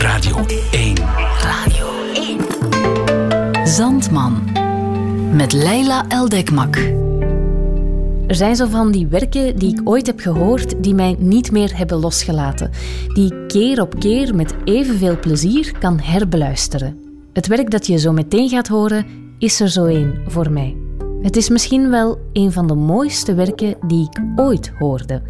1. Radio 1. Zandman. Met Leila Eldekmak. Er zijn zo van die werken die ik ooit heb gehoord die mij niet meer hebben losgelaten. Die ik keer op keer met evenveel plezier kan herbeluisteren. Het werk dat je zo meteen gaat horen is er zo één voor mij. Het is misschien wel een van de mooiste werken die ik ooit hoorde.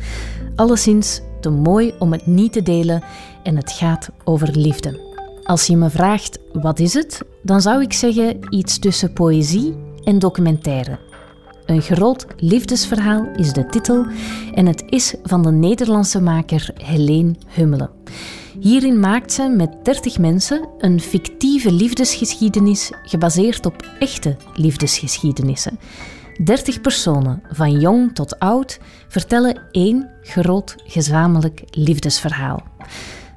Alleszins te mooi om het niet te delen en het gaat over liefde. Als je me vraagt wat is het, dan zou ik zeggen iets tussen poëzie en documentaire. Een groot liefdesverhaal is de titel en het is van de Nederlandse maker Helene Hummelen. Hierin maakt ze met 30 mensen een fictieve liefdesgeschiedenis gebaseerd op echte liefdesgeschiedenissen. 30 personen, van jong tot oud, vertellen één groot gezamenlijk liefdesverhaal.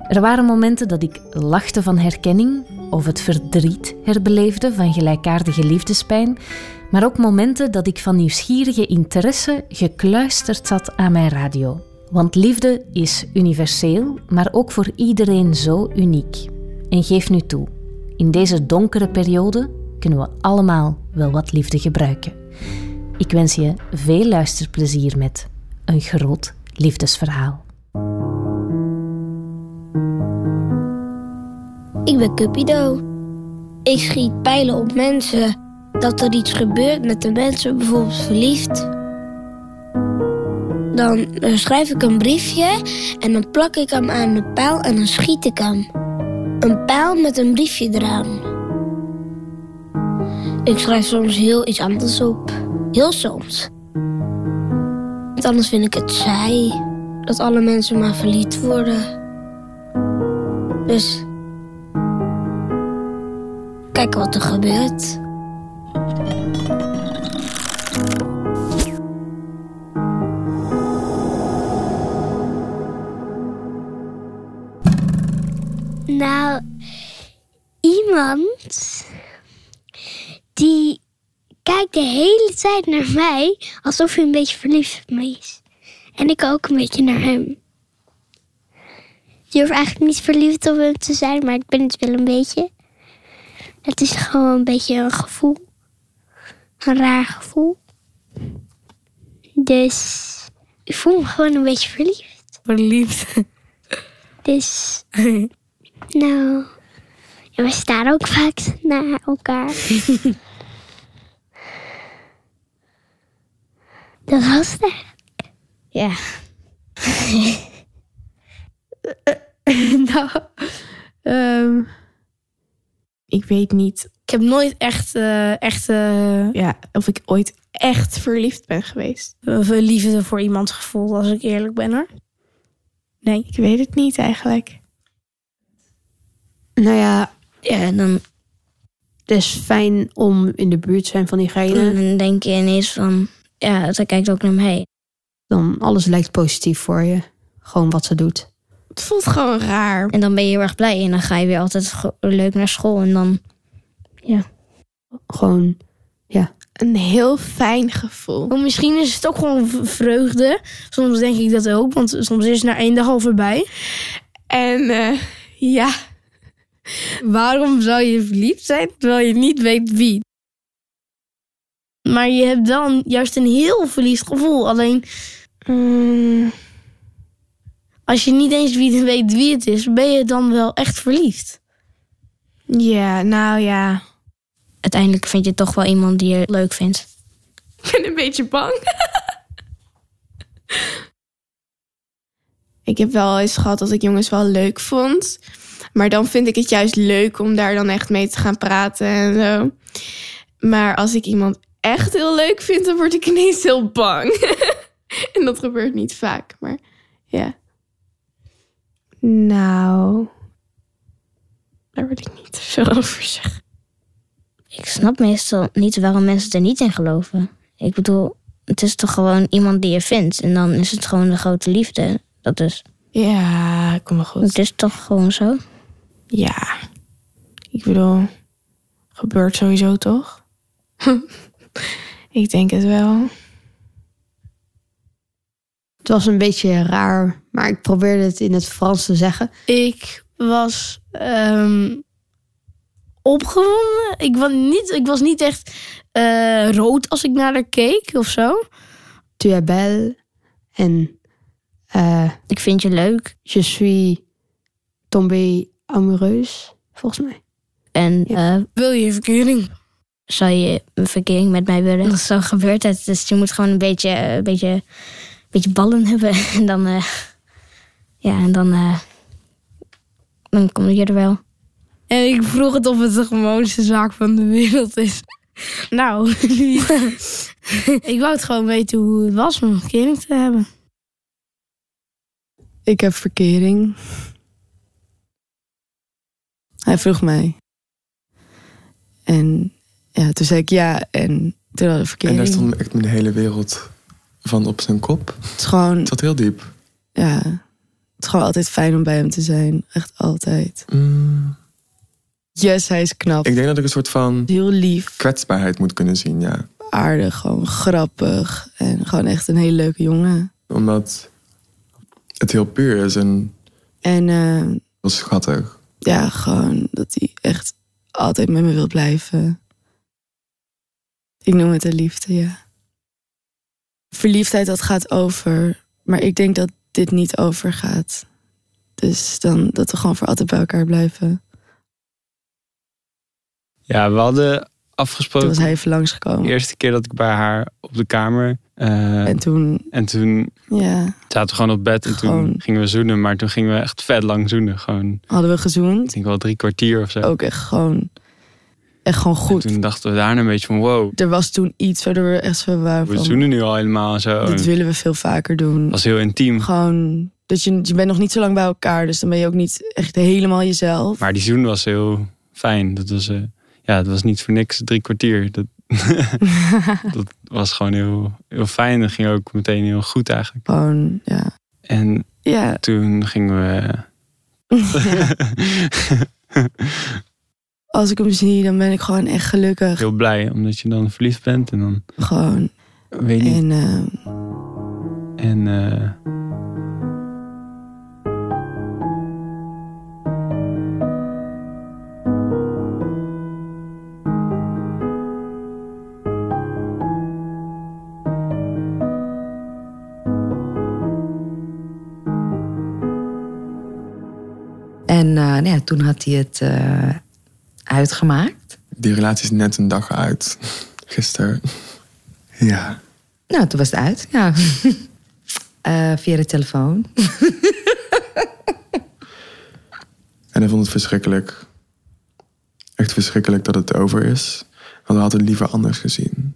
Er waren momenten dat ik lachte van herkenning of het verdriet herbeleefde van gelijkaardige liefdespijn, maar ook momenten dat ik van nieuwsgierige interesse gekluisterd zat aan mijn radio. Want liefde is universeel, maar ook voor iedereen zo uniek. En geef nu toe, in deze donkere periode kunnen we allemaal wel wat liefde gebruiken. Ik wens je veel luisterplezier met een groot liefdesverhaal. Ik ben Cupido. Ik schiet pijlen op mensen. Dat er iets gebeurt met de mensen, bijvoorbeeld verliefd. Dan eh, schrijf ik een briefje en dan plak ik hem aan de pijl en dan schiet ik hem. Een pijl met een briefje eraan. Ik schrijf soms heel iets anders op. Heel soms. Want anders vind ik het saai dat alle mensen maar verliefd worden. Dus Kijk wat er gebeurt. Nou, iemand die kijkt de hele tijd naar mij alsof hij een beetje verliefd op me is. En ik ook een beetje naar hem. Je hoeft eigenlijk niet verliefd op hem te zijn, maar ik ben het wel een beetje. Het is gewoon een beetje een gevoel. Een raar gevoel. Dus ik voel me gewoon een beetje verliefd. Verliefd. Dus Nou, ja, we staan ook vaak naar elkaar. Dat was het. eigenlijk. Ja. nou, ehm, ik weet niet. Ik heb nooit echt, eh, echt eh, ja, of ik ooit echt verliefd ben geweest. Een liefde voor iemand gevoel, als ik eerlijk ben hoor. Nee. Ik weet het niet eigenlijk. Nou ja, Ja, dan, het is fijn om in de buurt te zijn van diegene. Mm, dan denk je ineens van, ja, zij kijkt ook naar mij. Dan alles lijkt positief voor je. Gewoon wat ze doet. Het voelt gewoon raar. En dan ben je heel erg blij en dan ga je weer altijd ge- leuk naar school. En dan, Gewoon, ja. Een heel fijn gevoel. Maar misschien is het ook gewoon v- vreugde. Soms denk ik dat ook, want soms is na één dag al voorbij. En eh, ja, Waarom zou je verliefd zijn terwijl je niet weet wie? Maar je hebt dan juist een heel verliefd gevoel. Alleen ehm, mm, als je niet eens wie- weet wie het is, ben je dan wel echt verliefd. ja, nou ja. uiteindelijk vind je toch wel iemand die je leuk vindt. Ik ben een beetje bang. ik heb wel eens gehad dat ik jongens wel leuk vond. Maar dan vind ik het juist leuk om daar dan echt mee te gaan praten en zo. Maar als ik iemand echt heel leuk vind, dan word ik ineens heel bang. en dat gebeurt niet vaak, maar ja. Nou, daar wil ik niet te veel over zeggen. Ik snap meestal niet waarom mensen er niet in geloven. Ik bedoel, het is toch gewoon iemand die je vindt. En dan is het gewoon de grote liefde. Dat is, Ja, kom maar goed. het is toch gewoon zo. Ja, ik bedoel, gebeurt sowieso toch? ik denk het wel. Het was een beetje raar, maar ik probeerde het in het Frans te zeggen. Ik was ehm, opgewonden. Ik was niet, ik was niet echt eh, rood als ik naar haar keek of zo. Tu es belle. En eh, Ik vind je leuk. je suis tombée amoureuse, volgens mij. En eh, Wil je een verkering? zou je een verkering met mij willen? Dat zo gebeurt het. Dus je moet gewoon een beetje, eh, een beetje, een beetje ballen hebben. En dan, eh, ja, en dan, eh, dan kom je er wel. En ik vroeg het of het de gewoonste zaak van de wereld is. Nou, niet. ik wou het gewoon weten hoe het was om een verkering te hebben. Ik heb verkering. Hij vroeg mij. En ja, toen zei ik ja en toen hadden we En verkering. daar stond echt mijn hele wereld van op zijn kop. Het is gewoon, Het zat heel diep. ja, het is gewoon altijd fijn om bij hem te zijn. Echt altijd. Mm, Yes, hij is knap. Ik denk dat ik een soort van Heel lief, kwetsbaarheid moet kunnen zien, ja. aardig, gewoon grappig. En gewoon echt een hele leuke jongen. Omdat het heel puur is en En eh, heel schattig. ja, gewoon dat hij echt altijd met me wil blijven. Ik noem het een liefde, ja. Verliefdheid, dat gaat over. Maar ik denk dat dit niet overgaat. Dus dan dat we gewoon voor altijd bij elkaar blijven. Ja, we hadden Toen afgesproken. was hij even De langsgekomen. eerste keer dat ik bij haar op de kamer. eh, En toen, en toen ja, zaten we gewoon op bed en Gewoon. toen gingen we zoenen. Maar toen gingen we echt vet lang zoenen. Gewoon, hadden we ik gezoend. denk wel drie kwartier of zo. Ook echt gewoon, echt gewoon En goed. toen dachten we daarna een beetje van wow, Er was toen iets waardoor we echt zo waren we van... zoenen nu al helemaal en zo. En Dit Het willen we veel vaker doen. was heel intiem. Gewoon, dat je, je bent nog niet zo lang bij elkaar, dus dan ben je ook niet echt helemaal jezelf. Maar die zoen was heel fijn. Dat was, eh, ja, het was niet voor niks drie kwartier. Dat, dat was gewoon heel, heel fijn. Dat ging ook meteen heel goed eigenlijk. Gewoon, ja. En Ja, toen gingen we... als ik hem zie, dan ben ik gewoon echt gelukkig. heel blij, omdat je dan verliefd bent. En dan Gewoon. weet je niet. En eh, En eh, En eh, nou ja, toen had hij het eh, uitgemaakt. Die relatie is net een dag uit. Gisteren. Ja. Nou, toen was het uit, ja. Eh, via de telefoon. En hij vond het verschrikkelijk. Echt verschrikkelijk dat het over is. Want we hadden het liever anders gezien.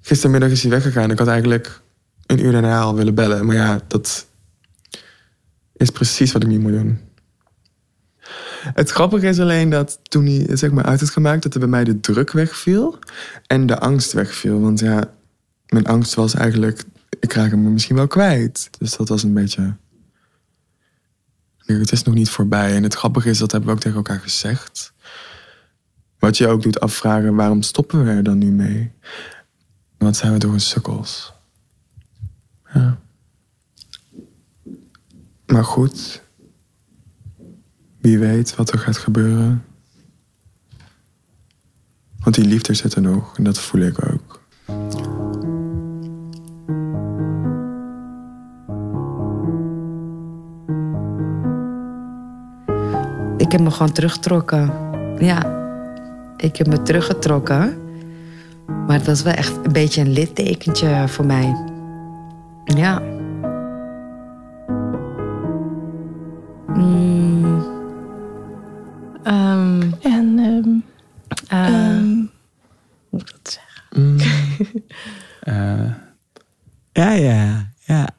Gistermiddag is hij weggegaan. Ik had eigenlijk een uur daarna al willen bellen. Maar ja, dat is precies wat ik niet moet doen. Het grappige is alleen dat toen hij het zeg maar, uit had gemaakt... dat er bij mij de druk wegviel en de angst wegviel. Want ja, mijn angst was eigenlijk... ik raak hem misschien wel kwijt. Dus dat was een beetje... Het is nog niet voorbij. En het grappige is, dat hebben we ook tegen elkaar gezegd. Wat je ook doet afvragen, waarom stoppen we er dan nu mee? Wat zijn we door een sukkels? Ja. Maar goed. Wie weet wat er gaat gebeuren. Want die liefde zit er nog en dat voel ik ook. Ik heb me gewoon teruggetrokken. Ja, ik heb me teruggetrokken. Maar het was wel echt een beetje een littekentje voor mij. Ja. Mm, Ehm, En ehm, eh, ehm, mm, eh, Ja, ja, ja.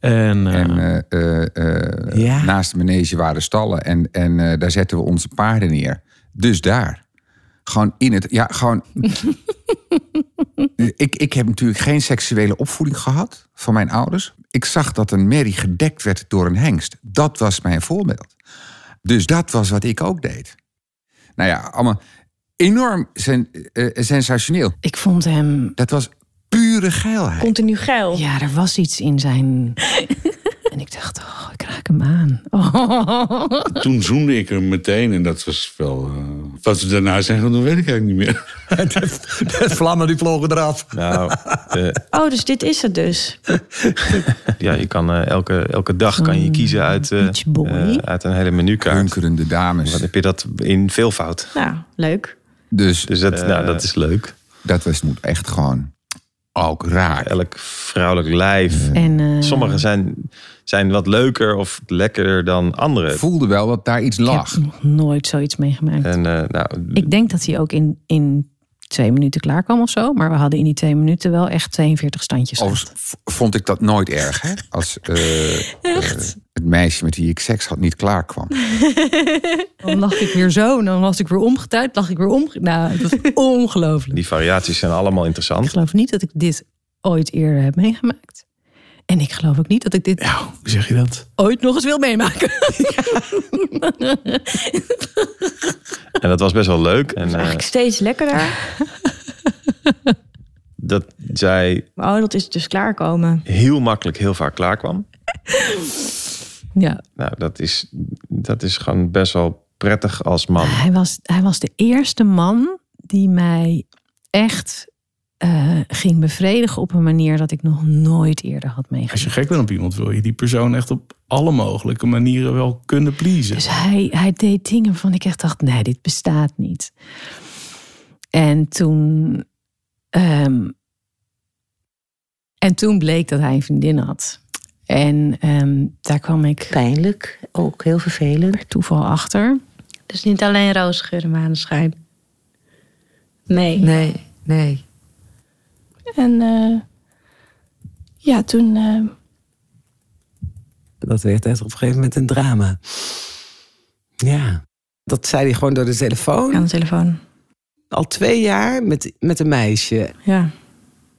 en, eh, En eh, eh, eh, Ja. naast de manege waren stallen. En, en eh, daar zetten we onze paarden neer. Dus daar. Gewoon in het... Ja, gewoon... ik, ik heb natuurlijk geen seksuele opvoeding gehad van mijn ouders. Ik zag dat een merrie gedekt werd door een hengst. Dat was mijn voorbeeld. Dus dat was wat ik ook deed. Nou ja, allemaal enorm sen- eh, sensationeel. ik vond hem. Dat was pure geilheid. continu geil. Ja, er was iets in zijn ik hem aan. Oh. Toen zoende ik hem meteen en dat was wel... eh, wat ze daarna zijn gaan doen, weet ik eigenlijk niet meer. De vlammen die vlogen eraf. Nou, eh, Oh, dus dit is het dus. ja, je kan, eh, elke, elke dag kan Mm, je kiezen uit, eh, eh, uit een hele menukaart. Hunkerende dames. Dan heb je dat in veelvoud. Nou, leuk. Dus, dat, nou, eh, dat is leuk. Dat was moet echt gewoon ook raar. Elk vrouwelijk lijf. En, eh, Sommige zijn, zijn wat leuker of lekkerder dan andere. Voelde wel dat daar iets Ik heb nog nooit zoiets meegemaakt. En eh, nou, Ik denk dat hij ook in, in twee minuten klaar kwam of zo. Maar we hadden in die twee minuten wel echt 42 standjes. Overigens v- vond ik dat nooit erg, hè? Als eh, eh, het meisje met wie ik seks had niet klaar kwam. Dan lag ik weer zo, en dan was ik weer omgetuid, lag ik weer om. Nou, het was ongelooflijk. die variaties zijn allemaal Ik interessant. geloof niet dat ik dit ooit eerder heb meegemaakt. En ik geloof ook niet dat ik dit Hoe zeg je dat? ooit nog eens wil meemaken. En dat was best wel leuk. En, eh, Eigenlijk steeds lekkerder. dat zij Maar oh, dat is dus klaarkomen. heel makkelijk heel vaak klaar kwam. Ja, Nou, dat is, dat is gewoon best wel prettig als man. hij was, hij was de eerste man die mij echt eh, ging bevredigen op een manier dat ik nog nooit eerder had meegemaakt. Als je gek bent op iemand, wil je die persoon echt op alle mogelijke manieren wel kunnen pleasen. Dus hij, hij deed dingen waarvan ik echt dacht, nee, dit bestaat niet. En toen... ehm, en toen bleek dat hij een vriendin had. En ehm, daar kwam ik... Pijnlijk, ook heel vervelend. Per toeval achter. Dus niet alleen roosgeur, maneschijn. Nee. Nee, nee. En eh, ja, toen. eh, Dat werd echt op een gegeven moment een drama. Ja. Dat zei hij gewoon door de telefoon. Aan de telefoon. Al twee jaar met, met een meisje. Ja.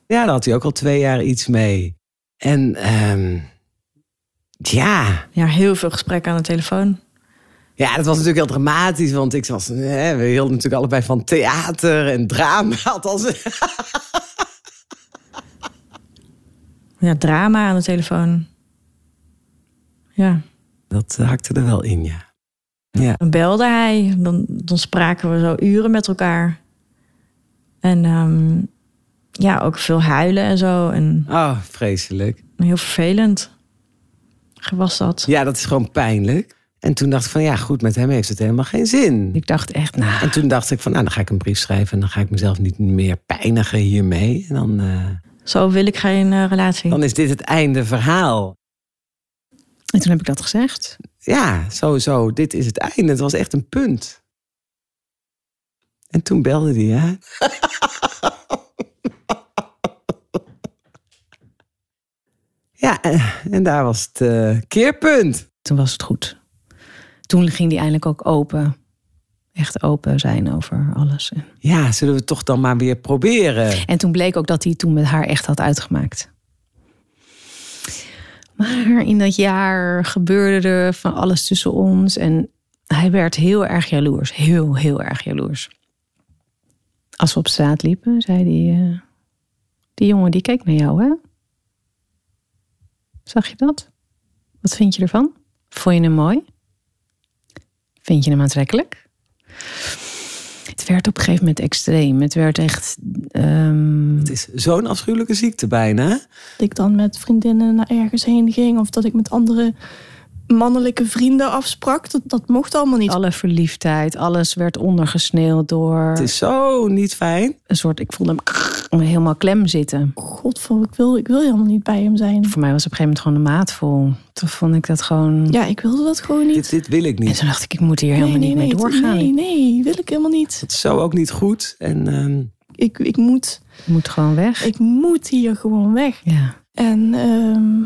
Ja, daar had hij ook al twee jaar iets mee. En ehm, ja. Ja, heel veel gesprekken aan de telefoon. Ja, dat was natuurlijk heel dramatisch, want ik was, hè, we hielden natuurlijk allebei van theater en drama. Althans, Ja, drama aan de telefoon. Ja. dat hakte er wel in, ja. Ja. Dan belde hij, dan, dan spraken we zo uren met elkaar. En ehm, ja, ook veel huilen en zo. En Oh, vreselijk. heel vervelend was dat. Ja, dat is gewoon pijnlijk. En toen dacht ik van, ja goed, met hem heeft het helemaal geen zin. Ik dacht echt, nou... En toen dacht ik van, nou dan ga ik een brief schrijven... en dan ga ik mezelf niet meer pijnigen hiermee. En dan, eh, Zo wil ik geen eh, relatie. dan is dit het einde verhaal. En toen heb ik dat gezegd. Ja, sowieso, dit is het einde. Het was echt een punt. En toen belde hij, hè? ja, en, en daar was het eh, keerpunt. Toen was het goed. Toen ging die eindelijk ook open. Echt open zijn over alles. En- Ja, zullen we het toch dan maar weer proberen? En toen bleek ook dat hij toen met haar echt had uitgemaakt. Maar in dat jaar gebeurde er van alles tussen ons. En hij werd heel erg jaloers. Heel, heel erg jaloers. Als we op straat liepen, zei hij... eh, die jongen die keek naar jou, hè? Zag je dat? Wat vind je ervan? Vond je hem mooi? Vind je hem aantrekkelijk? Het werd op een gegeven moment extreem. Het werd echt... ehm, Het is zo'n afschuwelijke ziekte bijna. dat ik dan met vriendinnen naar ergens heen ging. Of dat ik met andere mannelijke vrienden afsprak. Dat, dat mocht allemaal niet. Alle verliefdheid, alles werd ondergesneeuwd door... Het is zo niet fijn. Een soort, ik voelde hem helemaal klem zitten. God, voor- ik wil, ik wil helemaal niet bij hem zijn. Voor mij was op een gegeven moment gewoon de maat vol. Toen vond ik dat gewoon... Ja, ik wilde dat gewoon niet. Dit, dit wil ik niet. En toen dacht ik, ik moet hier helemaal niet mee doorgaan. Nee, nee, wil ik helemaal niet. Het is zo ook niet goed. En ehm, Ik, ik moet... moet gewoon weg. Ik moet hier gewoon weg. Ja. En ehm,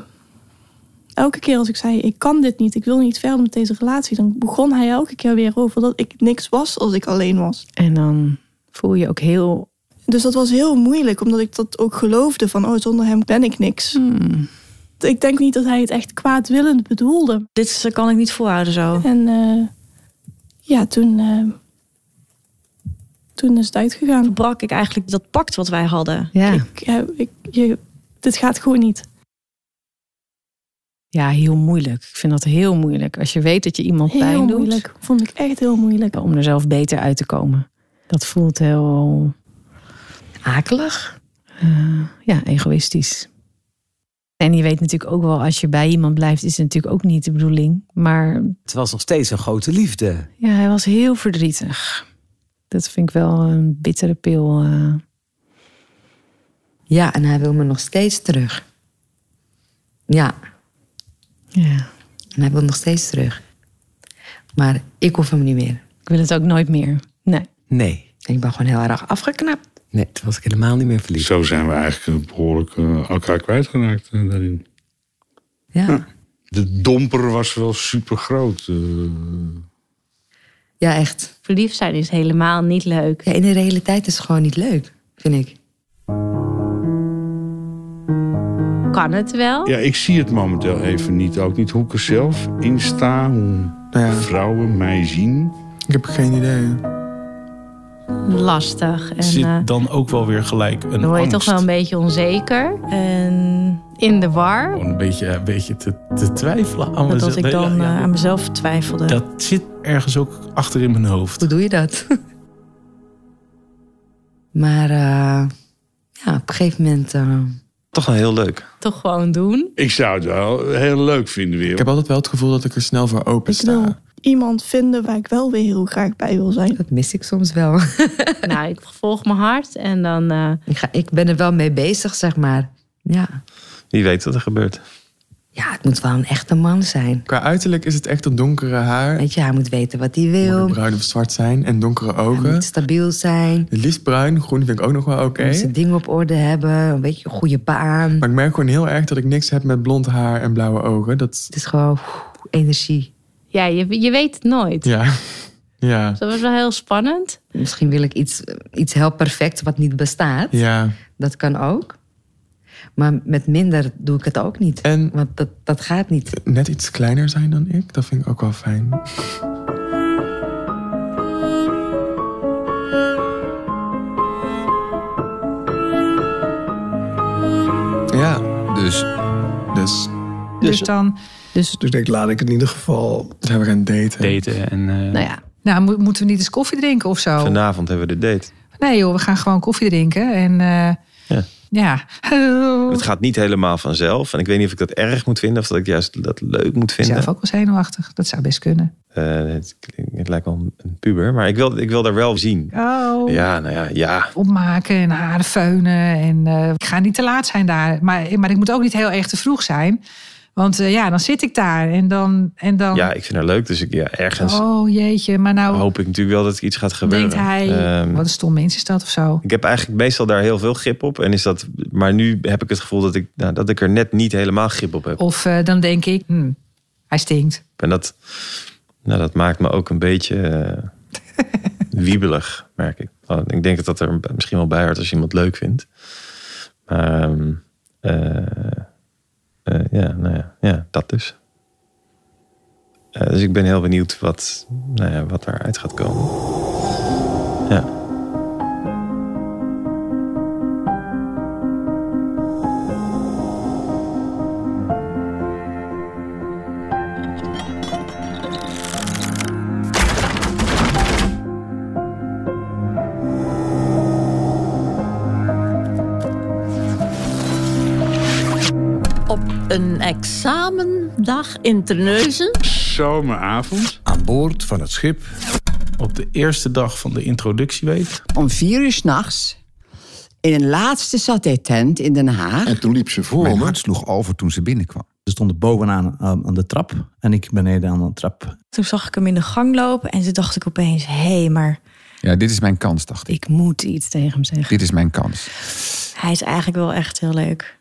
elke keer als ik zei, ik kan dit niet, ik wil niet verder met deze relatie, dan begon hij elke keer weer over dat ik niks was als ik alleen was. En dan voel je ook heel... Dus dat was heel moeilijk, omdat ik dat ook geloofde van, oh, zonder hem ben ik niks. Hmm. Ik denk niet dat hij het echt kwaadwillend bedoelde. Dit is- dat kan ik niet volhouden zo. En eh, ja, toen, eh, toen is het uitgegaan. Verbrak ik eigenlijk dat pact wat wij hadden. Ja. Ik, heb- ik, je, dit gaat gewoon niet. Ja, heel moeilijk. Ik vind dat heel moeilijk. Als je weet dat je iemand Heel pijn doet. moeilijk. Vond ik echt heel moeilijk. Om er zelf beter uit te komen. Dat voelt heel akelig. Eh, ja, egoïstisch. En je weet natuurlijk ook wel, als je bij iemand blijft, is het natuurlijk ook niet de bedoeling. Maar Het was nog steeds een grote liefde. ja, hij was heel verdrietig. Dat vind ik wel een bittere pil. eh. Ja, en hij wil me nog steeds terug. Ja. Ja. En hij wil nog steeds terug. Maar ik hoef hem niet meer. Ik wil het ook nooit meer. Nee. Nee. Ik ben gewoon heel erg afgeknapt. Nee, toen was ik helemaal niet meer verliefd. Zo zijn we eigenlijk eh, behoorlijk eh, elkaar kwijtgeraakt eh, daarin. Hm. Ja. De domper was wel eh. super groot. Ja, echt. Verliefd zijn is helemaal niet leuk. Ja, in de realiteit is het gewoon niet leuk, vind ik. Kan het wel? Ja, ik zie het momenteel even niet. Ook niet hoe ik er zelf in sta, hoe vrouwen mij zien. Ik heb geen idee. Lastig. En, eh, Zit dan ook wel weer gelijk een dan word je angst. toch wel een beetje onzeker. En in de war. Gewoon een beetje, een beetje te, te twijfelen aan Dat mezelf. als ik dan Ja, ja, eh, aan mezelf twijfelde. Dat zit ergens ook achter in mijn hoofd. Hoe doe je dat? maar eh, ja, op een gegeven moment... eh, Toch wel heel leuk. Toch gewoon doen. Ik zou het wel heel leuk vinden weer. Ik heb altijd wel het gevoel dat ik er snel voor open sta. Iemand vinden waar ik wel weer heel graag bij wil zijn. Dat mis ik soms wel. nou, ik volg mijn hart en dan... eh, Ik, ga, ik ben er wel mee bezig, zeg maar. Ja. Wie weet wat er gebeurt. Ja, het moet wel een echte man zijn. Qua uiterlijk is het echt dat donkere haar. Weet je, hij moet weten wat hij wil. Moet bruin of zwart zijn en donkere Hij ogen. moet stabiel zijn. Het liefst bruin, groen vind ik ook nog wel oké. Hij moet zijn dingen op orde hebben. Een beetje een goede baan. Maar ik merk gewoon heel erg dat ik niks heb met blond haar en blauwe ogen. Dat... Het is gewoon energie. Ja, je, je weet het nooit. Ja. ja. Dus dat was wel heel spannend. Misschien wil ik iets, iets heel perfect wat niet bestaat. Ja. Dat kan ook. Maar met minder doe ik het ook niet. Want dat, dat gaat niet. Net iets kleiner zijn dan ik, dat vind ik ook wel fijn. Ja. Dus. Dus. Dus dan- Dus, dus ik denk, laat ik het in ieder geval. Zijn we gaan daten? Daten en eh, Nou ja. Nou, mo- moeten we niet eens koffie drinken of zo? vanavond hebben we de date. Nee joh, we gaan gewoon koffie drinken. En eh, Ja. ja, hallo. Het gaat niet helemaal vanzelf. En ik weet niet of ik dat erg moet vinden of dat ik juist dat leuk moet vinden. Zelf ook wel zenuwachtig. Dat zou best kunnen. Eh, het, klinkt- het lijkt wel een puber, maar ik wil, ik wil daar wel zien. Oh. Ja, nou ja, ja. Opmaken en haren feunen. En eh, ik ga niet te laat zijn daar. Maar, maar ik moet ook niet heel erg te vroeg zijn. Want eh, ja, dan zit ik daar. En dan... En dan Ja, ik vind haar leuk, dus ik, ja, ergens oh jeetje, maar nou hoop ik natuurlijk wel dat er iets gaat gebeuren. denkt hij... Ehm, wat een stom mens is dat of zo. ik heb eigenlijk meestal daar heel veel grip op. En is dat, maar nu heb ik het gevoel dat ik, nou, dat ik er net niet helemaal grip op heb. Of eh, dan denk ik... hm, hij stinkt. En dat, nou, dat maakt me ook een beetje eh, wiebelig, merk ik. Oh, Ik denk dat dat er misschien wel bij hoort als je iemand leuk vindt. Maar ehm, eh, eh, ja, nou ja, ja, dat dus. Eh, dus ik ben heel benieuwd wat, nou ja, wat daaruit gaat komen. Ja. Op een examendag in Terneuzen. Zomeravond. Aan boord van het schip. Op de eerste dag van de introductieweek. Om vier uur s'nachts in een laatste saté-tent in Den Haag. En toen liep ze voor Mijn hart sloeg over toen ze binnenkwam. Ze stonden bovenaan eh, aan, aan de trap en ik beneden aan de trap. Toen zag ik hem in de gang lopen en toen dacht ik opeens... hé, hey, maar Ja, dit is mijn kans, dacht ik. Ik moet iets tegen hem zeggen. Dit is mijn kans. hij is eigenlijk wel echt heel leuk.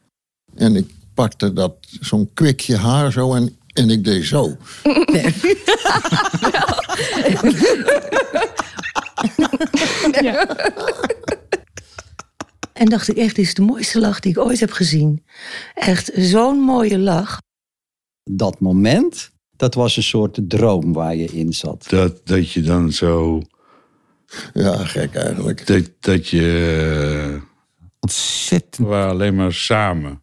En ik pakte dat, zo'n kwikje haar zo en, en ik deed zo. En dacht ik echt, dit is de mooiste lach die ik ooit heb gezien. Echt zo'n mooie lach. Dat moment, dat was een soort droom waar je in zat. Dat, dat je dan zo... Ja, gek eigenlijk. Dat, dat eh, je... Ontzettend. We waren alleen maar samen.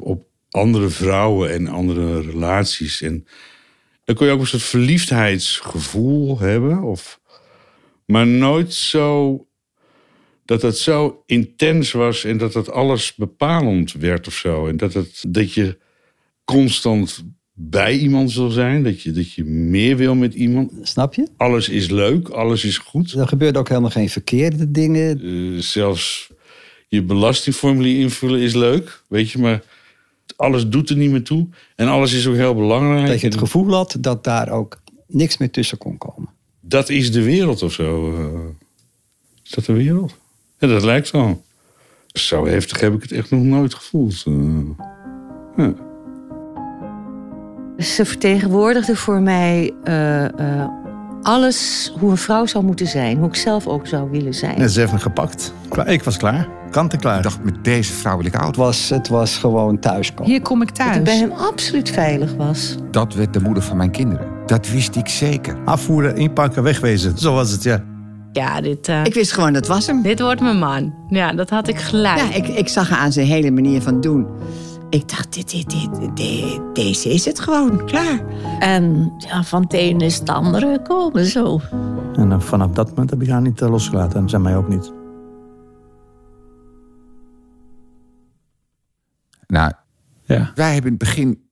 Op andere vrouwen en andere relaties. En dan kon je ook een soort verliefdheidsgevoel hebben. Of, maar nooit zo dat het zo intens was en dat het alles bepalend werd of zo. En dat, het, dat je constant bij iemand wil zijn, dat je, dat je meer wil met iemand. Snap je? Alles is leuk, alles is goed. Er gebeurt ook helemaal geen verkeerde dingen. Eh, zelfs je belastingformulier invullen is leuk, weet je, maar alles doet er niet meer toe. En alles is ook heel belangrijk. Dat je het gevoel had dat daar ook niks meer tussen kon komen. Dat is de wereld of zo. eh. Is dat de wereld? Ja, dat lijkt wel. Zo heftig heb ik het echt nog nooit gevoeld. eh. Ze vertegenwoordigde voor mij eh, eh, alles hoe een vrouw zou moeten zijn. Hoe ik zelf ook zou willen zijn. ze heeft me gepakt. Ik was klaar. Kant en klaar. Ik dacht, met deze vrouw wil ik oud. Het was, het was gewoon thuiskomen. Hier kom ik thuis. Dat ik bij hem absoluut veilig was. Dat werd de moeder van mijn kinderen. Dat wist ik zeker. Afvoeren, inpakken, wegwezen. Zo was het, ja. Ja, dit... eh, Ik wist gewoon, dat was hem. Dit wordt mijn man. Ja, dat had ik gelijk. Ja, ik, ik zag haar aan zijn hele manier van doen. Ik dacht, dit, dit, dit, dit- deze is het gewoon, klaar. En ja, van het ene is het andere komen zo. En eh, vanaf dat moment heb ik haar niet eh, losgelaten. En zij mij ook niet. Nou, wij hebben in het begin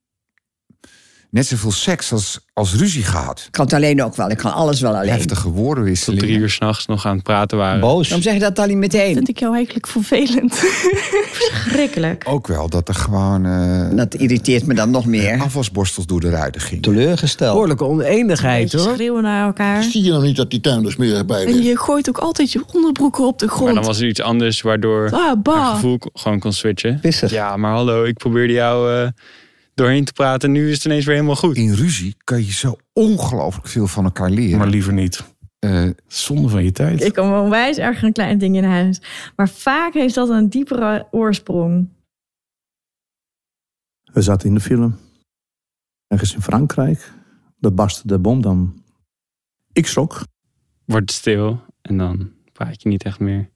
net zoveel seks als, als ruzie gehad. Ik kan het alleen ook wel. Ik kan alles wel alleen. Heftige woordenwisseling. Drie uur s'nachts nog aan het praten waren. Dan zeg je dat dan niet meteen. vind ik jou eigenlijk vervelend. Verschrikkelijk. Ook wel dat er gewoon... eh, dat irriteert me dan nog meer. Afwasborstels door de ruiten gingen. Teleurgesteld. Behoorlijke oneenigheid hoor. Schreeuwen naar elkaar. Zie je nou niet dat die tuin er smerig bij En ligt? je gooit ook altijd je onderbroeken op de Maar grond. dan was er iets anders waardoor Ah, bah. haar gevoel k- gewoon kon switchen. Ja, maar hallo, ik probeerde jou eh, doorheen te praten. Nu is het ineens weer helemaal goed. In ruzie kan je zo ongelooflijk veel van elkaar leren. Eh, Maar liever niet. Zonde van je tijd. Ik kom wel onwijs erg een klein ding in huis. Maar vaak heeft dat een diepere oorsprong. We zaten in de film. Ergens in Frankrijk. Daar barstte de bom dan. Ik schrok. Wordt stil en dan praat je niet echt meer.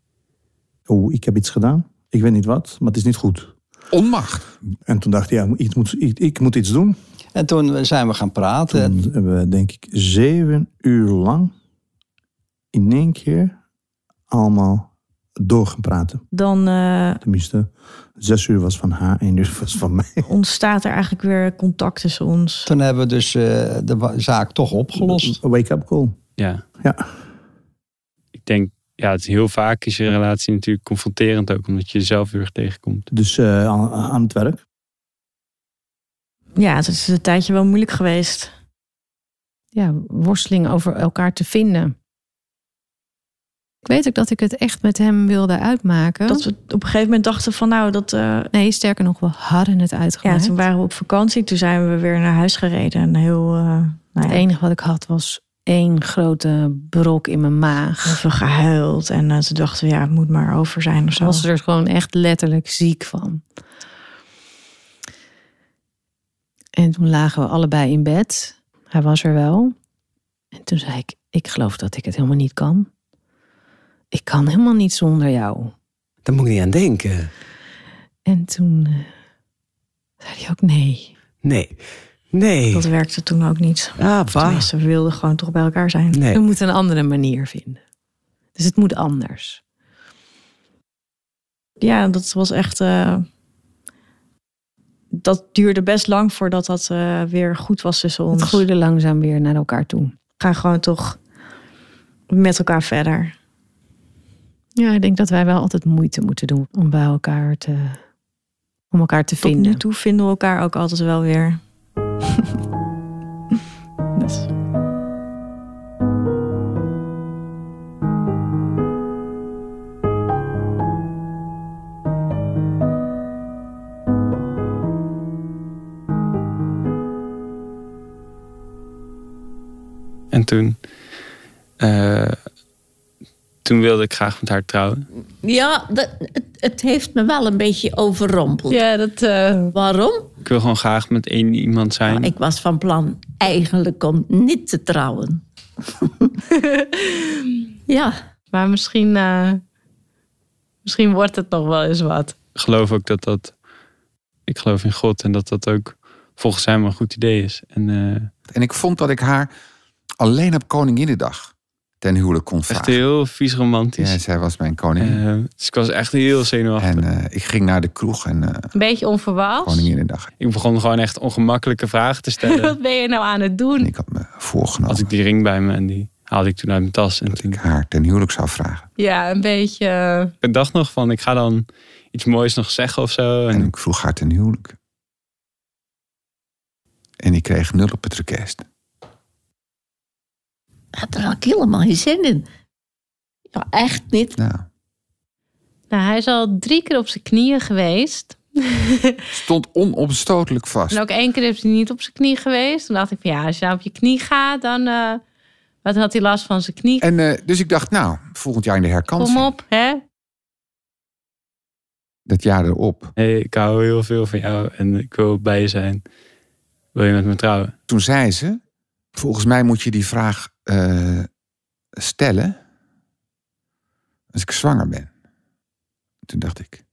Oeh, ik heb iets gedaan. Ik weet niet wat, maar het is niet goed. Onmacht. En toen dacht ik, ja, ik moet, ik, ik moet iets doen. En toen zijn we gaan praten. Toen hebben we, denk ik, zeven uur lang in één keer allemaal door gaan praten. Dan eh, Tenminste, zes uur was van haar, één uur was van mij. ontstaat er eigenlijk weer contact tussen ons. Toen hebben we dus eh, de wa- zaak toch opgelost. wake-up call. Ja. ja. Ik denk, ja, het is heel vaak is je relatie natuurlijk confronterend ook. Omdat je jezelf heel erg tegenkomt. Dus eh, aan, aan het werk. Ja, het is een tijdje wel moeilijk geweest. ja, worsteling over elkaar te vinden. Ik weet ook dat ik het echt met hem wilde uitmaken. Dat we op een gegeven moment dachten van nou dat... eh, Nee, sterker nog, we hadden het uitgemaakt. ja, toen waren we op vakantie. Toen zijn we weer naar huis gereden. Een heel... eh, nou ja, Het enige wat ik had was één grote brok in mijn maag. heel veel gehuild. En eh, toen dachten we ja, het moet maar over zijn of Ze zo. was er gewoon echt letterlijk ziek van. En toen lagen we allebei in bed. Hij was er wel. En toen zei ik, ik geloof dat ik het helemaal niet kan. Ik kan helemaal niet zonder jou. Daar moet ik niet aan denken. En toen eh, zei hij ook nee. Nee. Nee. Dat werkte toen ook niet. Ah, Of tenminste, we wilden gewoon toch bij elkaar zijn. We moeten een andere manier vinden. Dus het moet anders. Ja, dat was echt... eh, dat duurde best lang voordat dat eh, weer goed was tussen ons. Het groeide langzaam weer naar elkaar toe. gaan gewoon toch met elkaar verder. Ja, ik denk dat wij wel altijd moeite moeten doen om bij elkaar te, om elkaar te Tot vinden. nu toe vinden we elkaar ook altijd wel weer. Dus. En toen... eh, toen wilde ik graag met haar trouwen. Ja, dat, het, het heeft me wel een beetje overrompeld. Ja, dat... eh, Waarom? Ik wil gewoon graag met één iemand zijn. Ik was van plan eigenlijk om niet te trouwen. Ja, maar misschien, eh, misschien wordt het nog wel eens wat. geloof ook dat dat ik geloof in God en dat dat ook volgens hem een goed idee is. En, eh, en ik vond dat ik haar alleen op Koninginnedag ten huwelijk kon vragen. Echt heel vies romantisch. Ja, zij was mijn koningin. Eh, dus ik was echt heel zenuwachtig. En eh, ik ging naar de kroeg en eh Een beetje onverwacht. Koninginnedag Ik begon gewoon echt ongemakkelijke vragen te stellen. Wat ben je nou aan het doen? voorgenomen. Had ik die ring bij me en die haalde ik toen uit mijn tas. En toen... ik haar ten huwelijk zou vragen. Ja, een beetje. eh, Ik dacht nog van, ik ga dan iets moois nog zeggen of zo. En, ik vroeg haar ten huwelijk. En ik kreeg nul op het request. Had er ook helemaal geen zin in. Ja, echt niet. Nou. nou, hij is al drie keer op zijn knieën geweest. Stond onopstotelijk vast. En ook één keer is hij niet op zijn knie geweest. Toen dacht ik van ja, als je nou op je knie gaat, dan... eh, wat had hij last van zijn knie? En eh, dus ik dacht, nou, volgend jaar in de herkansing. Kom op, hè? Dat jaar erop. hey, ik hou heel veel van jou en ik wil bij je zijn. Wil je met me trouwen? Toen zei ze, volgens mij moet je die vraag eh, stellen als ik zwanger ben. Toen dacht ik.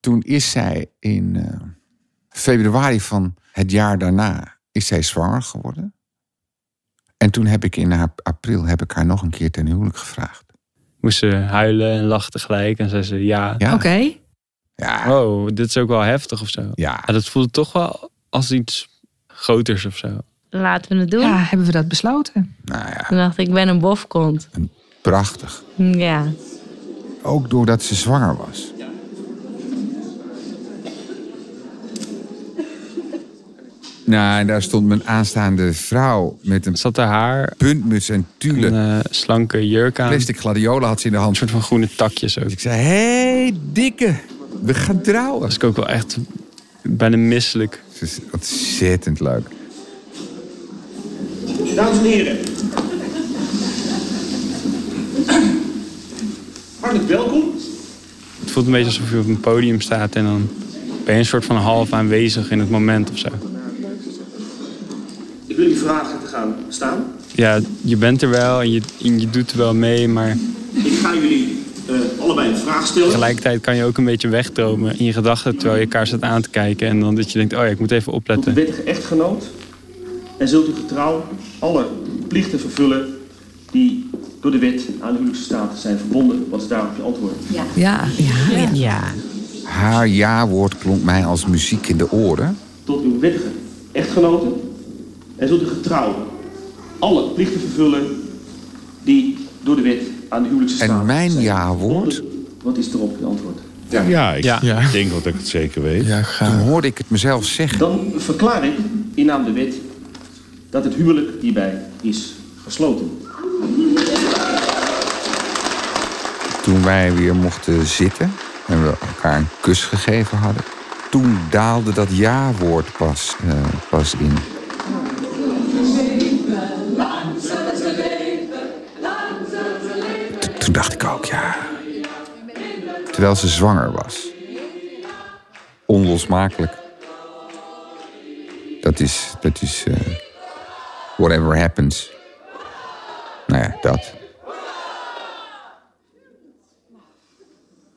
Toen is zij in eh, februari van het jaar daarna is zij zwanger geworden. En toen heb ik in haar- april heb ik haar nog een keer ten huwelijk gevraagd. Moest ze huilen en lachen tegelijk. En zei ze ja. Ja. Oké. Ja. Wow, dit is ook wel heftig of zo. Ja. Dat voelde toch wel als iets groters of zo. Laten we het doen. Ja, hebben we dat besloten. Nou ja, Toen dacht ik, ik ben een bofkont. prachtig. Ja. Ook doordat ze zwanger was. Nou, en daar stond mijn aanstaande vrouw met een Zat haar haar. puntmuts en tulle. Een eh, slanke jurk aan. Plastic gladiolen had ze in de hand. Een soort van groene takjes ook. ik zei, hé, hey, dikke, we gaan trouwen. Was ik ook wel echt bijna misselijk. Het is ontzettend leuk. Dames en heren. Hartelijk welkom. Het voelt een beetje alsof je op een podium staat en dan ben je een soort van half aanwezig in het moment of zo. Ik wil u vragen te gaan staan. Ja, je bent er wel en je, en je doet er wel mee, maar Ik ga jullie eh, allebei een vraag stellen. tegelijkertijd kan je ook een beetje wegdromen in je gedachten terwijl je elkaar staat aan te kijken. En dan dat je denkt, oh ja, ik moet even opletten. Wettige echtgenoot. En zult u getrouw alle plichten vervullen die door de wet aan de huwelijksstaat zijn verbonden. Wat is daarop je antwoord? Ja. Ja. Ja. ja. Haar ja-woord klonk mij als muziek in de oren. Tot uw wettige echtgenoten. En zult u getrouw alle plichten vervullen die door de wet aan de huwelijksstaat En mijn ja-woord... Wat is erop je antwoord? Ja, ik denk dat ik het zeker weet. Toen hoorde ik het mezelf zeggen. Dan verklaar ik in naam de wet dat het huwelijk hierbij is gesloten. Toen wij weer mochten zitten en we elkaar een kus gegeven hadden, toen daalde dat ja-woord pas, eh, pas in. T- Toen dacht ik ook, ja. Terwijl ze zwanger was. Onlosmakelijk. Dat is, dat is, eh, whatever happens. Nou ja, dat.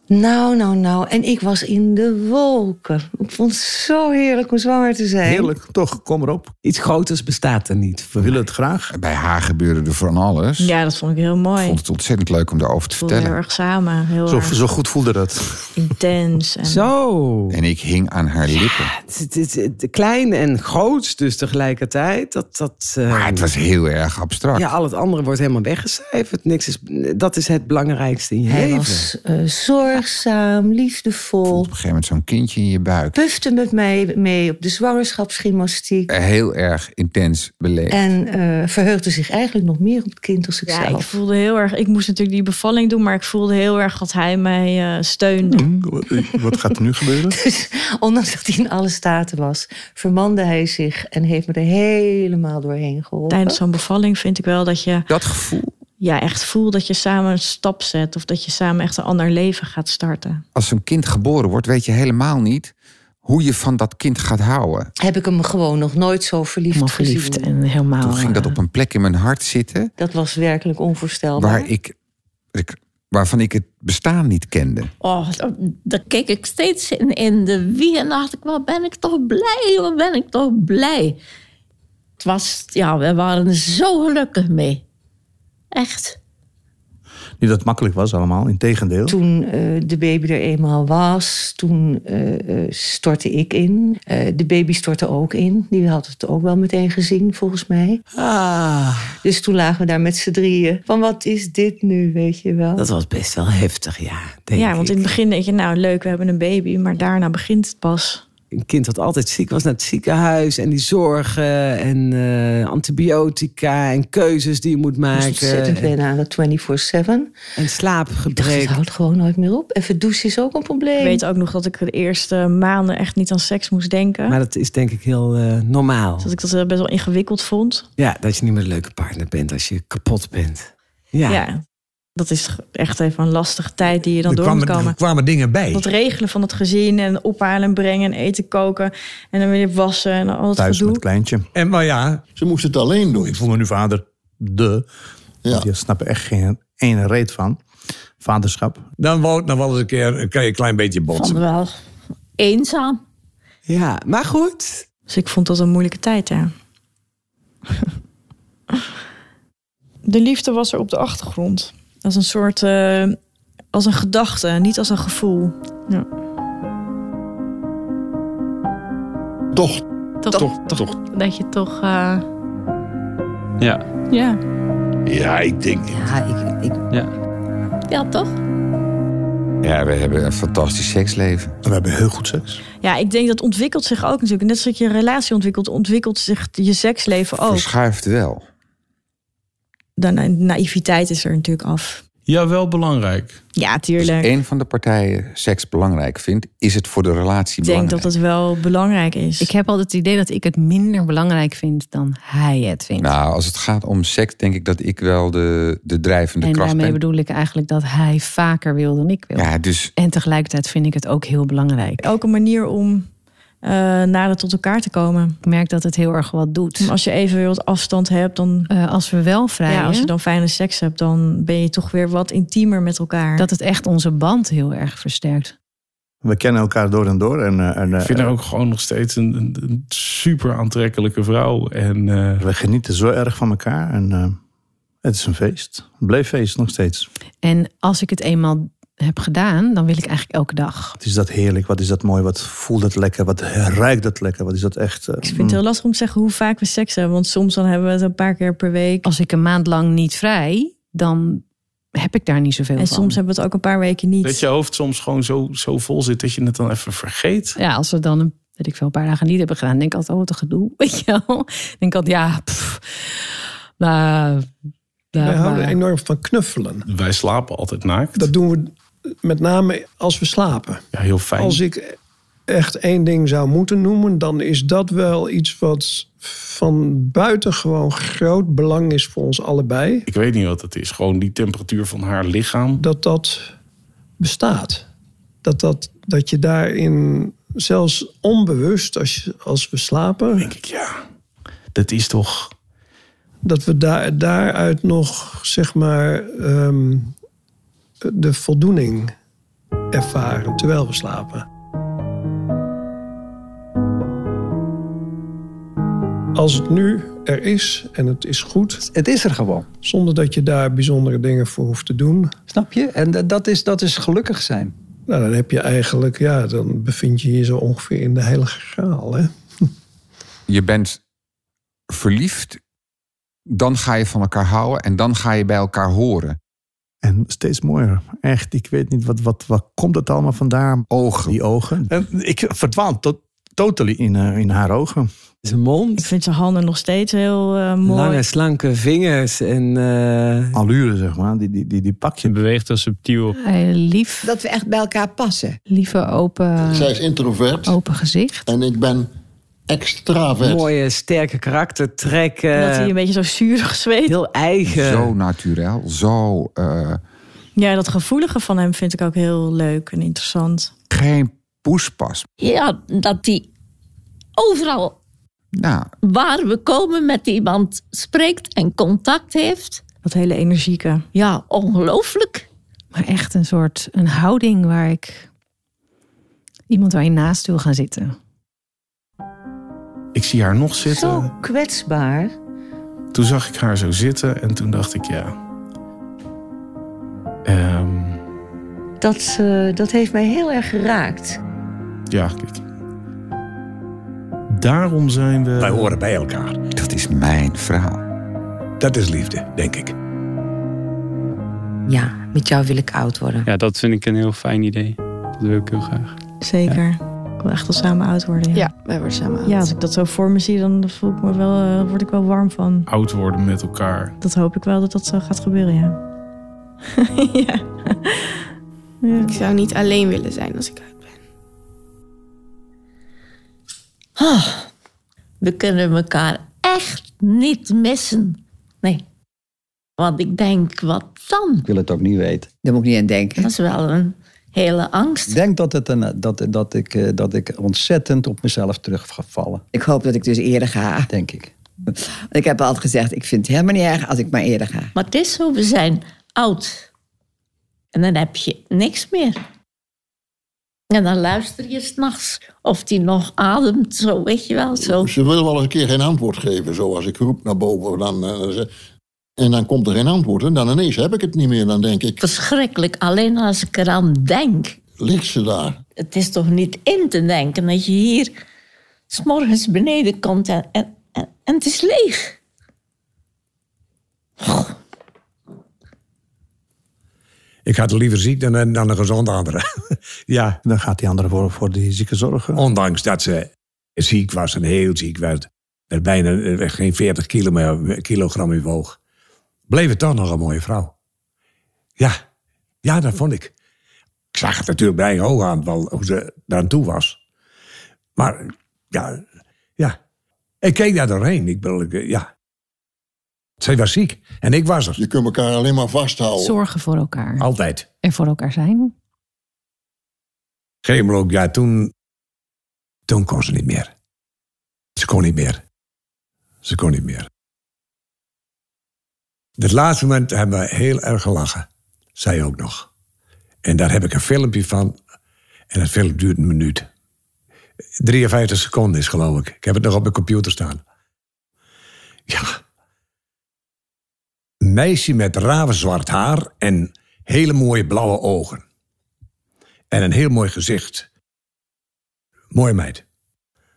Nou, nou, nou. En ik was in de wolken. Ik vond het zo heerlijk om zwanger te zijn. Heerlijk, toch? Kom erop. Iets groters bestaat er niet. We willen het graag. Bij haar gebeurde er van alles. ja, dat vond ik heel mooi. Ik vond het ontzettend leuk om daarover te voelde heel vertellen. erg samen. Heel erg goed voelde dat. Dus, intens. eh, En... Zo. En ik hing aan haar lippen. Het, het, het, het- klein en groot dus tegelijkertijd. Dat, dat, ehm, eh, Maar het was heel erg abstract. Ja, al het andere wordt helemaal weggecijferd. Niks is, dat is het belangrijkste in je Hij leven. was, Eh, zorgzaam, liefdevol. Op een gegeven moment zo'n kindje in je buik. Pufte met mij mee op de zwangerschapsgymnastiek. Heel erg intens beleefd. En eh, verheugde zich eigenlijk nog meer op het kind als Ja, ik ikzelf. voelde heel erg. Ik moest natuurlijk die bevalling doen, maar ik voelde heel erg dat hij mij eh, steunde. Mm. Hm, Wat gaat er nu gebeuren? Dus ondanks dat hij in alle staten was, vermande hij zich en heeft me er helemaal doorheen geholpen. Tijdens zo'n bevalling vind ik wel dat je. Dat gevoel. Ja, echt voel dat je samen een stap zet. Of dat je samen echt een ander leven gaat starten. Als zo'n kind geboren wordt, weet je helemaal niet hoe je van dat kind gaat houden. heb ik hem gewoon nog nooit zo verliefd, verliefd gezien. en Oh, helemaal. Toen ging dat op een plek in mijn hart zitten Dat was werkelijk onvoorstelbaar. waar ik, ik waarvan ik het bestaan niet kende. Oh, daar- daar keek ik steeds in, in de wie en dacht ik, wat ben ik toch blij, wat ben ik toch blij. Het was, ja, we waren er zo gelukkig mee. Echt. Niet dat het makkelijk was allemaal, integendeel. Toen eh, de baby er eenmaal was, toen eh, eh, stortte ik in. Eh, de baby stortte ook in. Die had het ook wel meteen gezien, volgens mij. Ah. Dus toen lagen we daar met z'n drieën. Van wat is dit nu, weet je wel? Dat was best wel heftig, ja. Denk ja, ik. want in het begin denk je, nou leuk, we hebben een baby, maar daarna begint het pas. Een kind dat altijd ziek was naar het ziekenhuis en die zorgen en eh, antibiotica en keuzes die je moet Ik moest maken. ontzettend wennen aan dat 24-7. En Ik dacht, het slaapgebrek. houdt gewoon nooit meer op. Even douchen is ook een probleem. Ik weet ook nog dat ik de eerste maanden echt niet aan seks moest denken. Maar dat is denk ik heel eh, normaal. Dat ik dat eh, best wel ingewikkeld vond. Ja, dat je niet meer een leuke partner bent als je kapot bent. Ja. Dat is echt even een lastige tijd die je dan Er door kwamen- moet komen. er kwamen dingen bij. Dat regelen van het gezin en ophalen en brengen en eten koken. En dan weer wassen en al dat Thuis gedoe. met het kleintje. En maar ja... Ze moest het alleen doen. Ik voel me nu vader. De. Want die snappen echt geen ene reet van. Vaderschap. Dan wou het nog wel eens een keer kan je een klein beetje Vond botsen. me wel eenzaam. Ja, maar goed. Dus ik vond dat een moeilijke tijd, ja. De liefde was er op de achtergrond. Als een soort, eh, als een gedachte, niet als een gevoel. Ja. Toch. Toch, toch, Dat je toch... eh, Ja. ja. Ja, ik denk. Ja, ik, ik, ja. Ja, toch? Ja, we hebben een fantastisch seksleven. We hebben heel goed seks. ja, ik denk dat ontwikkelt zich ook natuurlijk. Net zoals je relatie ontwikkelt, ontwikkelt zich je seksleven ook. Verschuift wel. De na- naïviteit is er natuurlijk af. Ja, wel belangrijk. Ja, tuurlijk. Als Dus een van de partijen seks belangrijk vindt, is het voor de relatie Ik denk dat belangrijk. dat wel belangrijk is. Ik heb altijd het idee dat ik het minder belangrijk vind dan hij het vindt. Nou, als het gaat om seks, denk ik dat ik wel de, de drijvende en kracht daarmee ben. bedoel ik eigenlijk dat hij vaker wil dan ik wil. Ja, dus En tegelijkertijd vind ik het ook heel belangrijk. Ook een manier om eh nader tot elkaar te komen. Ik merk dat het heel erg wat doet. Eh, Als je even weer wat afstand hebt, dan... als we wel vrij. Ja, als je dan fijne seks hebt, dan ben je toch weer wat intiemer met elkaar. Dat het echt onze band heel erg versterkt. We kennen elkaar door en door. En, eh, en, Ik vind haar ook gewoon nog steeds een, een, een super aantrekkelijke vrouw. En, eh, We genieten zo erg van elkaar. En eh, het is een feest. Het bleef feest nog steeds. En als ik het eenmaal heb gedaan, dan wil ik eigenlijk elke dag. Wat is dat heerlijk. Wat is dat mooi. Wat voelt dat lekker. Wat ruikt dat lekker. Wat is dat echt. eh, Ik vind het Mm. heel lastig om te zeggen hoe vaak we seks hebben. Want soms dan hebben we het een paar keer per week. Als ik een maand lang niet vrij, dan heb ik daar niet zoveel En van. soms hebben we het ook een paar weken niet. Dat je hoofd soms gewoon zo, zo vol zit dat je het dan even vergeet. Ja, als we dan een, weet ik veel, een paar dagen niet hebben gedaan, denk ik altijd, oh, wat een gedoe. Weet je wel? Denk ik altijd, ja, pff, nou, nou, Wij houden maar- enorm van knuffelen. Wij slapen altijd naakt. Dat doen we met name als we slapen. Ja, heel fijn. Als ik echt één ding zou moeten noemen, dan is dat wel iets wat van buitengewoon groot belang is voor ons allebei. Ik weet niet wat het is. Gewoon die temperatuur van haar lichaam. Dat dat bestaat. Dat, dat, dat je daarin zelfs onbewust, als, je- als we slapen. Denk ik ja. Dat is toch. Dat we daar, daaruit nog, zeg maar, ehm, de voldoening ervaren terwijl we slapen. Als het nu er is en het is goed. Het is er gewoon. Zonder dat je daar bijzondere dingen voor hoeft te doen. Snap je? En dat- dat is, dat is gelukkig zijn. Nou, dan heb je eigenlijk, ja, dan bevind je je zo ongeveer in de heilige graal. Hè? je bent verliefd, dan ga je van elkaar houden en dan ga je bij elkaar horen. En steeds mooier. Echt, ik weet niet, wat, wat, wat komt dat allemaal vandaan? Ogen. Die ogen. En ik verdwaal tot, totally in, eh, in haar ogen. Zijn mond. Ik vind zijn handen nog steeds heel eh, mooi. Lange, slanke vingers en... eh, Allure, zeg maar. Die, die, die, die pak je. Beweegt heel subtiel. eh, lief. Dat we echt bij elkaar passen. Lieve open, Zij is introvert. Ah. open gezicht. En ik ben extravert. Mooie, sterke karaktertrekken. Dat Eh, hij een beetje zo zuurig zweet. Heel eigen. Zo natuurlijk, zo eh, Ja, dat gevoelige van hem vind ik ook heel leuk en interessant. geen poespas. Ja, dat die overal Nou, waar we komen met iemand spreekt en contact heeft. Dat hele energieke. Ja, ongelooflijk. Maar echt een soort een houding waar ik iemand waar je naast wil gaan zitten. Ik zie haar nog zitten. Zo kwetsbaar. Toen zag ik haar zo zitten en toen dacht ik ja. ehm, Dat, eh, dat heeft mij heel erg geraakt. ja, kijk. Daarom zijn we. Wij horen bij elkaar. Dat is mijn verhaal. Dat is liefde, denk ik. Ja, met jou wil ik oud worden. Ja, dat vind ik een heel fijn idee. Dat wil ik heel graag. Zeker. Ik wil echt wel samen oud worden. Ja, wij worden samen Ja, als ik dat zo voor me zie, dan voel ik me wel, eh, word ik wel warm van. Oud worden met elkaar. Dat hoop ik wel dat dat zo gaat gebeuren, ja. Ik zou niet alleen willen zijn als ik... Ah, we kunnen elkaar echt niet missen. Nee. Want ik denk, wat dan? Ik wil het ook niet weten. Daar moet ik niet aan denken. Dat is wel een hele angst. Ik denk dat, het een, dat, dat, ik, eh, dat ik ontzettend op mezelf terug ga vallen. Ik hoop dat ik dus eerder ga. Denk ik. Ik heb altijd gezegd, ik vind het helemaal niet erg als ik maar eerder ga. Maar het is zo, we zijn oud. En dan heb je niks meer. En dan luister je s'nachts of die nog ademt, zo weet je wel. Zo. Ze willen wel eens een keer geen antwoord geven. Zoals ik roep naar boven. Dan, eh, dan ze- en dan komt er geen antwoord. En dan ineens heb ik het niet meer. Dan denk ik, Verschrikkelijk, alleen als ik eraan denk. ligt ze daar? Het is toch niet in te denken dat je hier s'morgens beneden komt en, en, en, en het is leeg. Ik had liever ziek dan, een- dan een gezonde andere. ja. Dan gaat die andere voor, voor die zieke zorgen. Ondanks dat ze ziek was en heel ziek werd. Er bijna eh, geen 40 kilo meer- eh, kilogram in woog. Bleef het toch nog een mooie vrouw. Ja, ja dat vond ik. Ik zag het natuurlijk bij hoog aan wel, hoe ze daar aan toe was. Maar ja, ja. Ik keek daar doorheen. Ik bedoel, ik, eh, ja. Zij was ziek en ik was er. Je kunt elkaar alleen maar Oh. vasthouden. Zorgen voor elkaar. Altijd. En voor elkaar zijn. Geemblok, ja, toen, toen kon ze niet meer. Ze kon niet meer. Ze kon niet meer. Het laatste moment hebben we heel erg gelachen. Zij ook nog. En daar heb ik een filmpje van. En dat filmpje duurt een minuut. 53 seconden is geloof ik. Ik heb het nog op mijn computer staan. Ja. Een meisje met ravenzwart haar en hele mooie blauwe ogen. En een heel mooi gezicht. Mooie meid.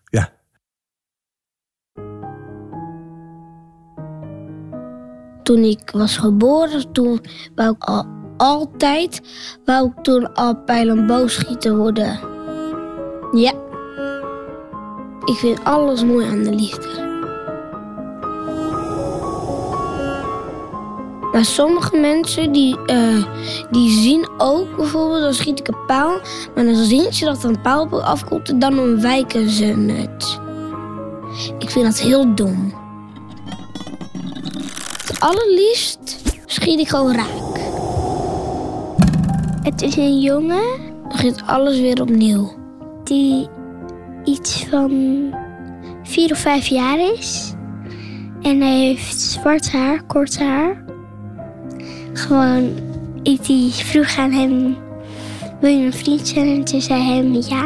Ja. Toen ik was geboren, toen wou ik al, altijd wou ik toen al pijlenboogschieter worden. Ja. Ik vind alles mooi aan de liefde. Maar sommige mensen die, eh, die zien ook bijvoorbeeld, dan schiet ik een paal, maar dan zien ze dat er een paal op je afkomt en dan ontwijken ze het. Ik vind dat heel dom. Het allerliefst schiet ik gewoon raak. Het is een jongen. Dan begint alles weer opnieuw. Die iets van vier of vijf jaar is. En hij heeft zwart haar, kort haar. Gewoon, ik die vroeg aan hem, wil je een vriend zijn? En toen zei hij ja.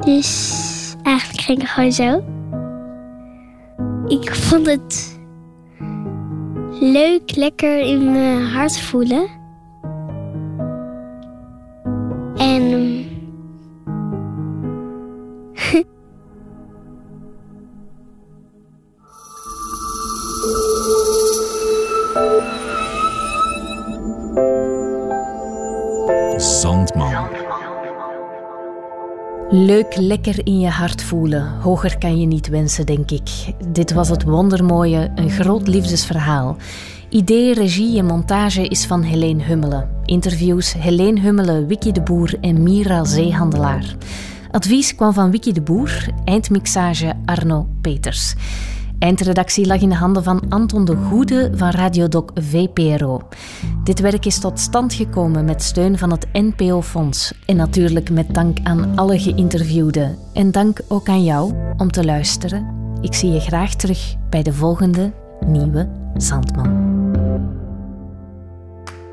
Dus eigenlijk ging het gewoon zo. Ik vond het leuk, lekker in mijn hart voelen. En ehm, Zandman. Leuk lekker in je hart voelen. Hoger kan je niet wensen, denk ik. Dit was het wondermooie, een groot liefdesverhaal. Idee, regie en montage is van Helene Hummelen. Interviews Helene Hummelen, Wiki de Boer en Mira Zeehandelaar. Advies kwam van Wiki de Boer, eindmixage Arno Peters. Eindredactie lag in de handen van Anton de Goede van Radiodoc VPRO. Dit werk is tot stand gekomen met steun van het NPO-fonds. En natuurlijk met dank aan alle geïnterviewden. En dank ook aan jou om te luisteren. Ik zie je graag terug bij de volgende nieuwe Zandman.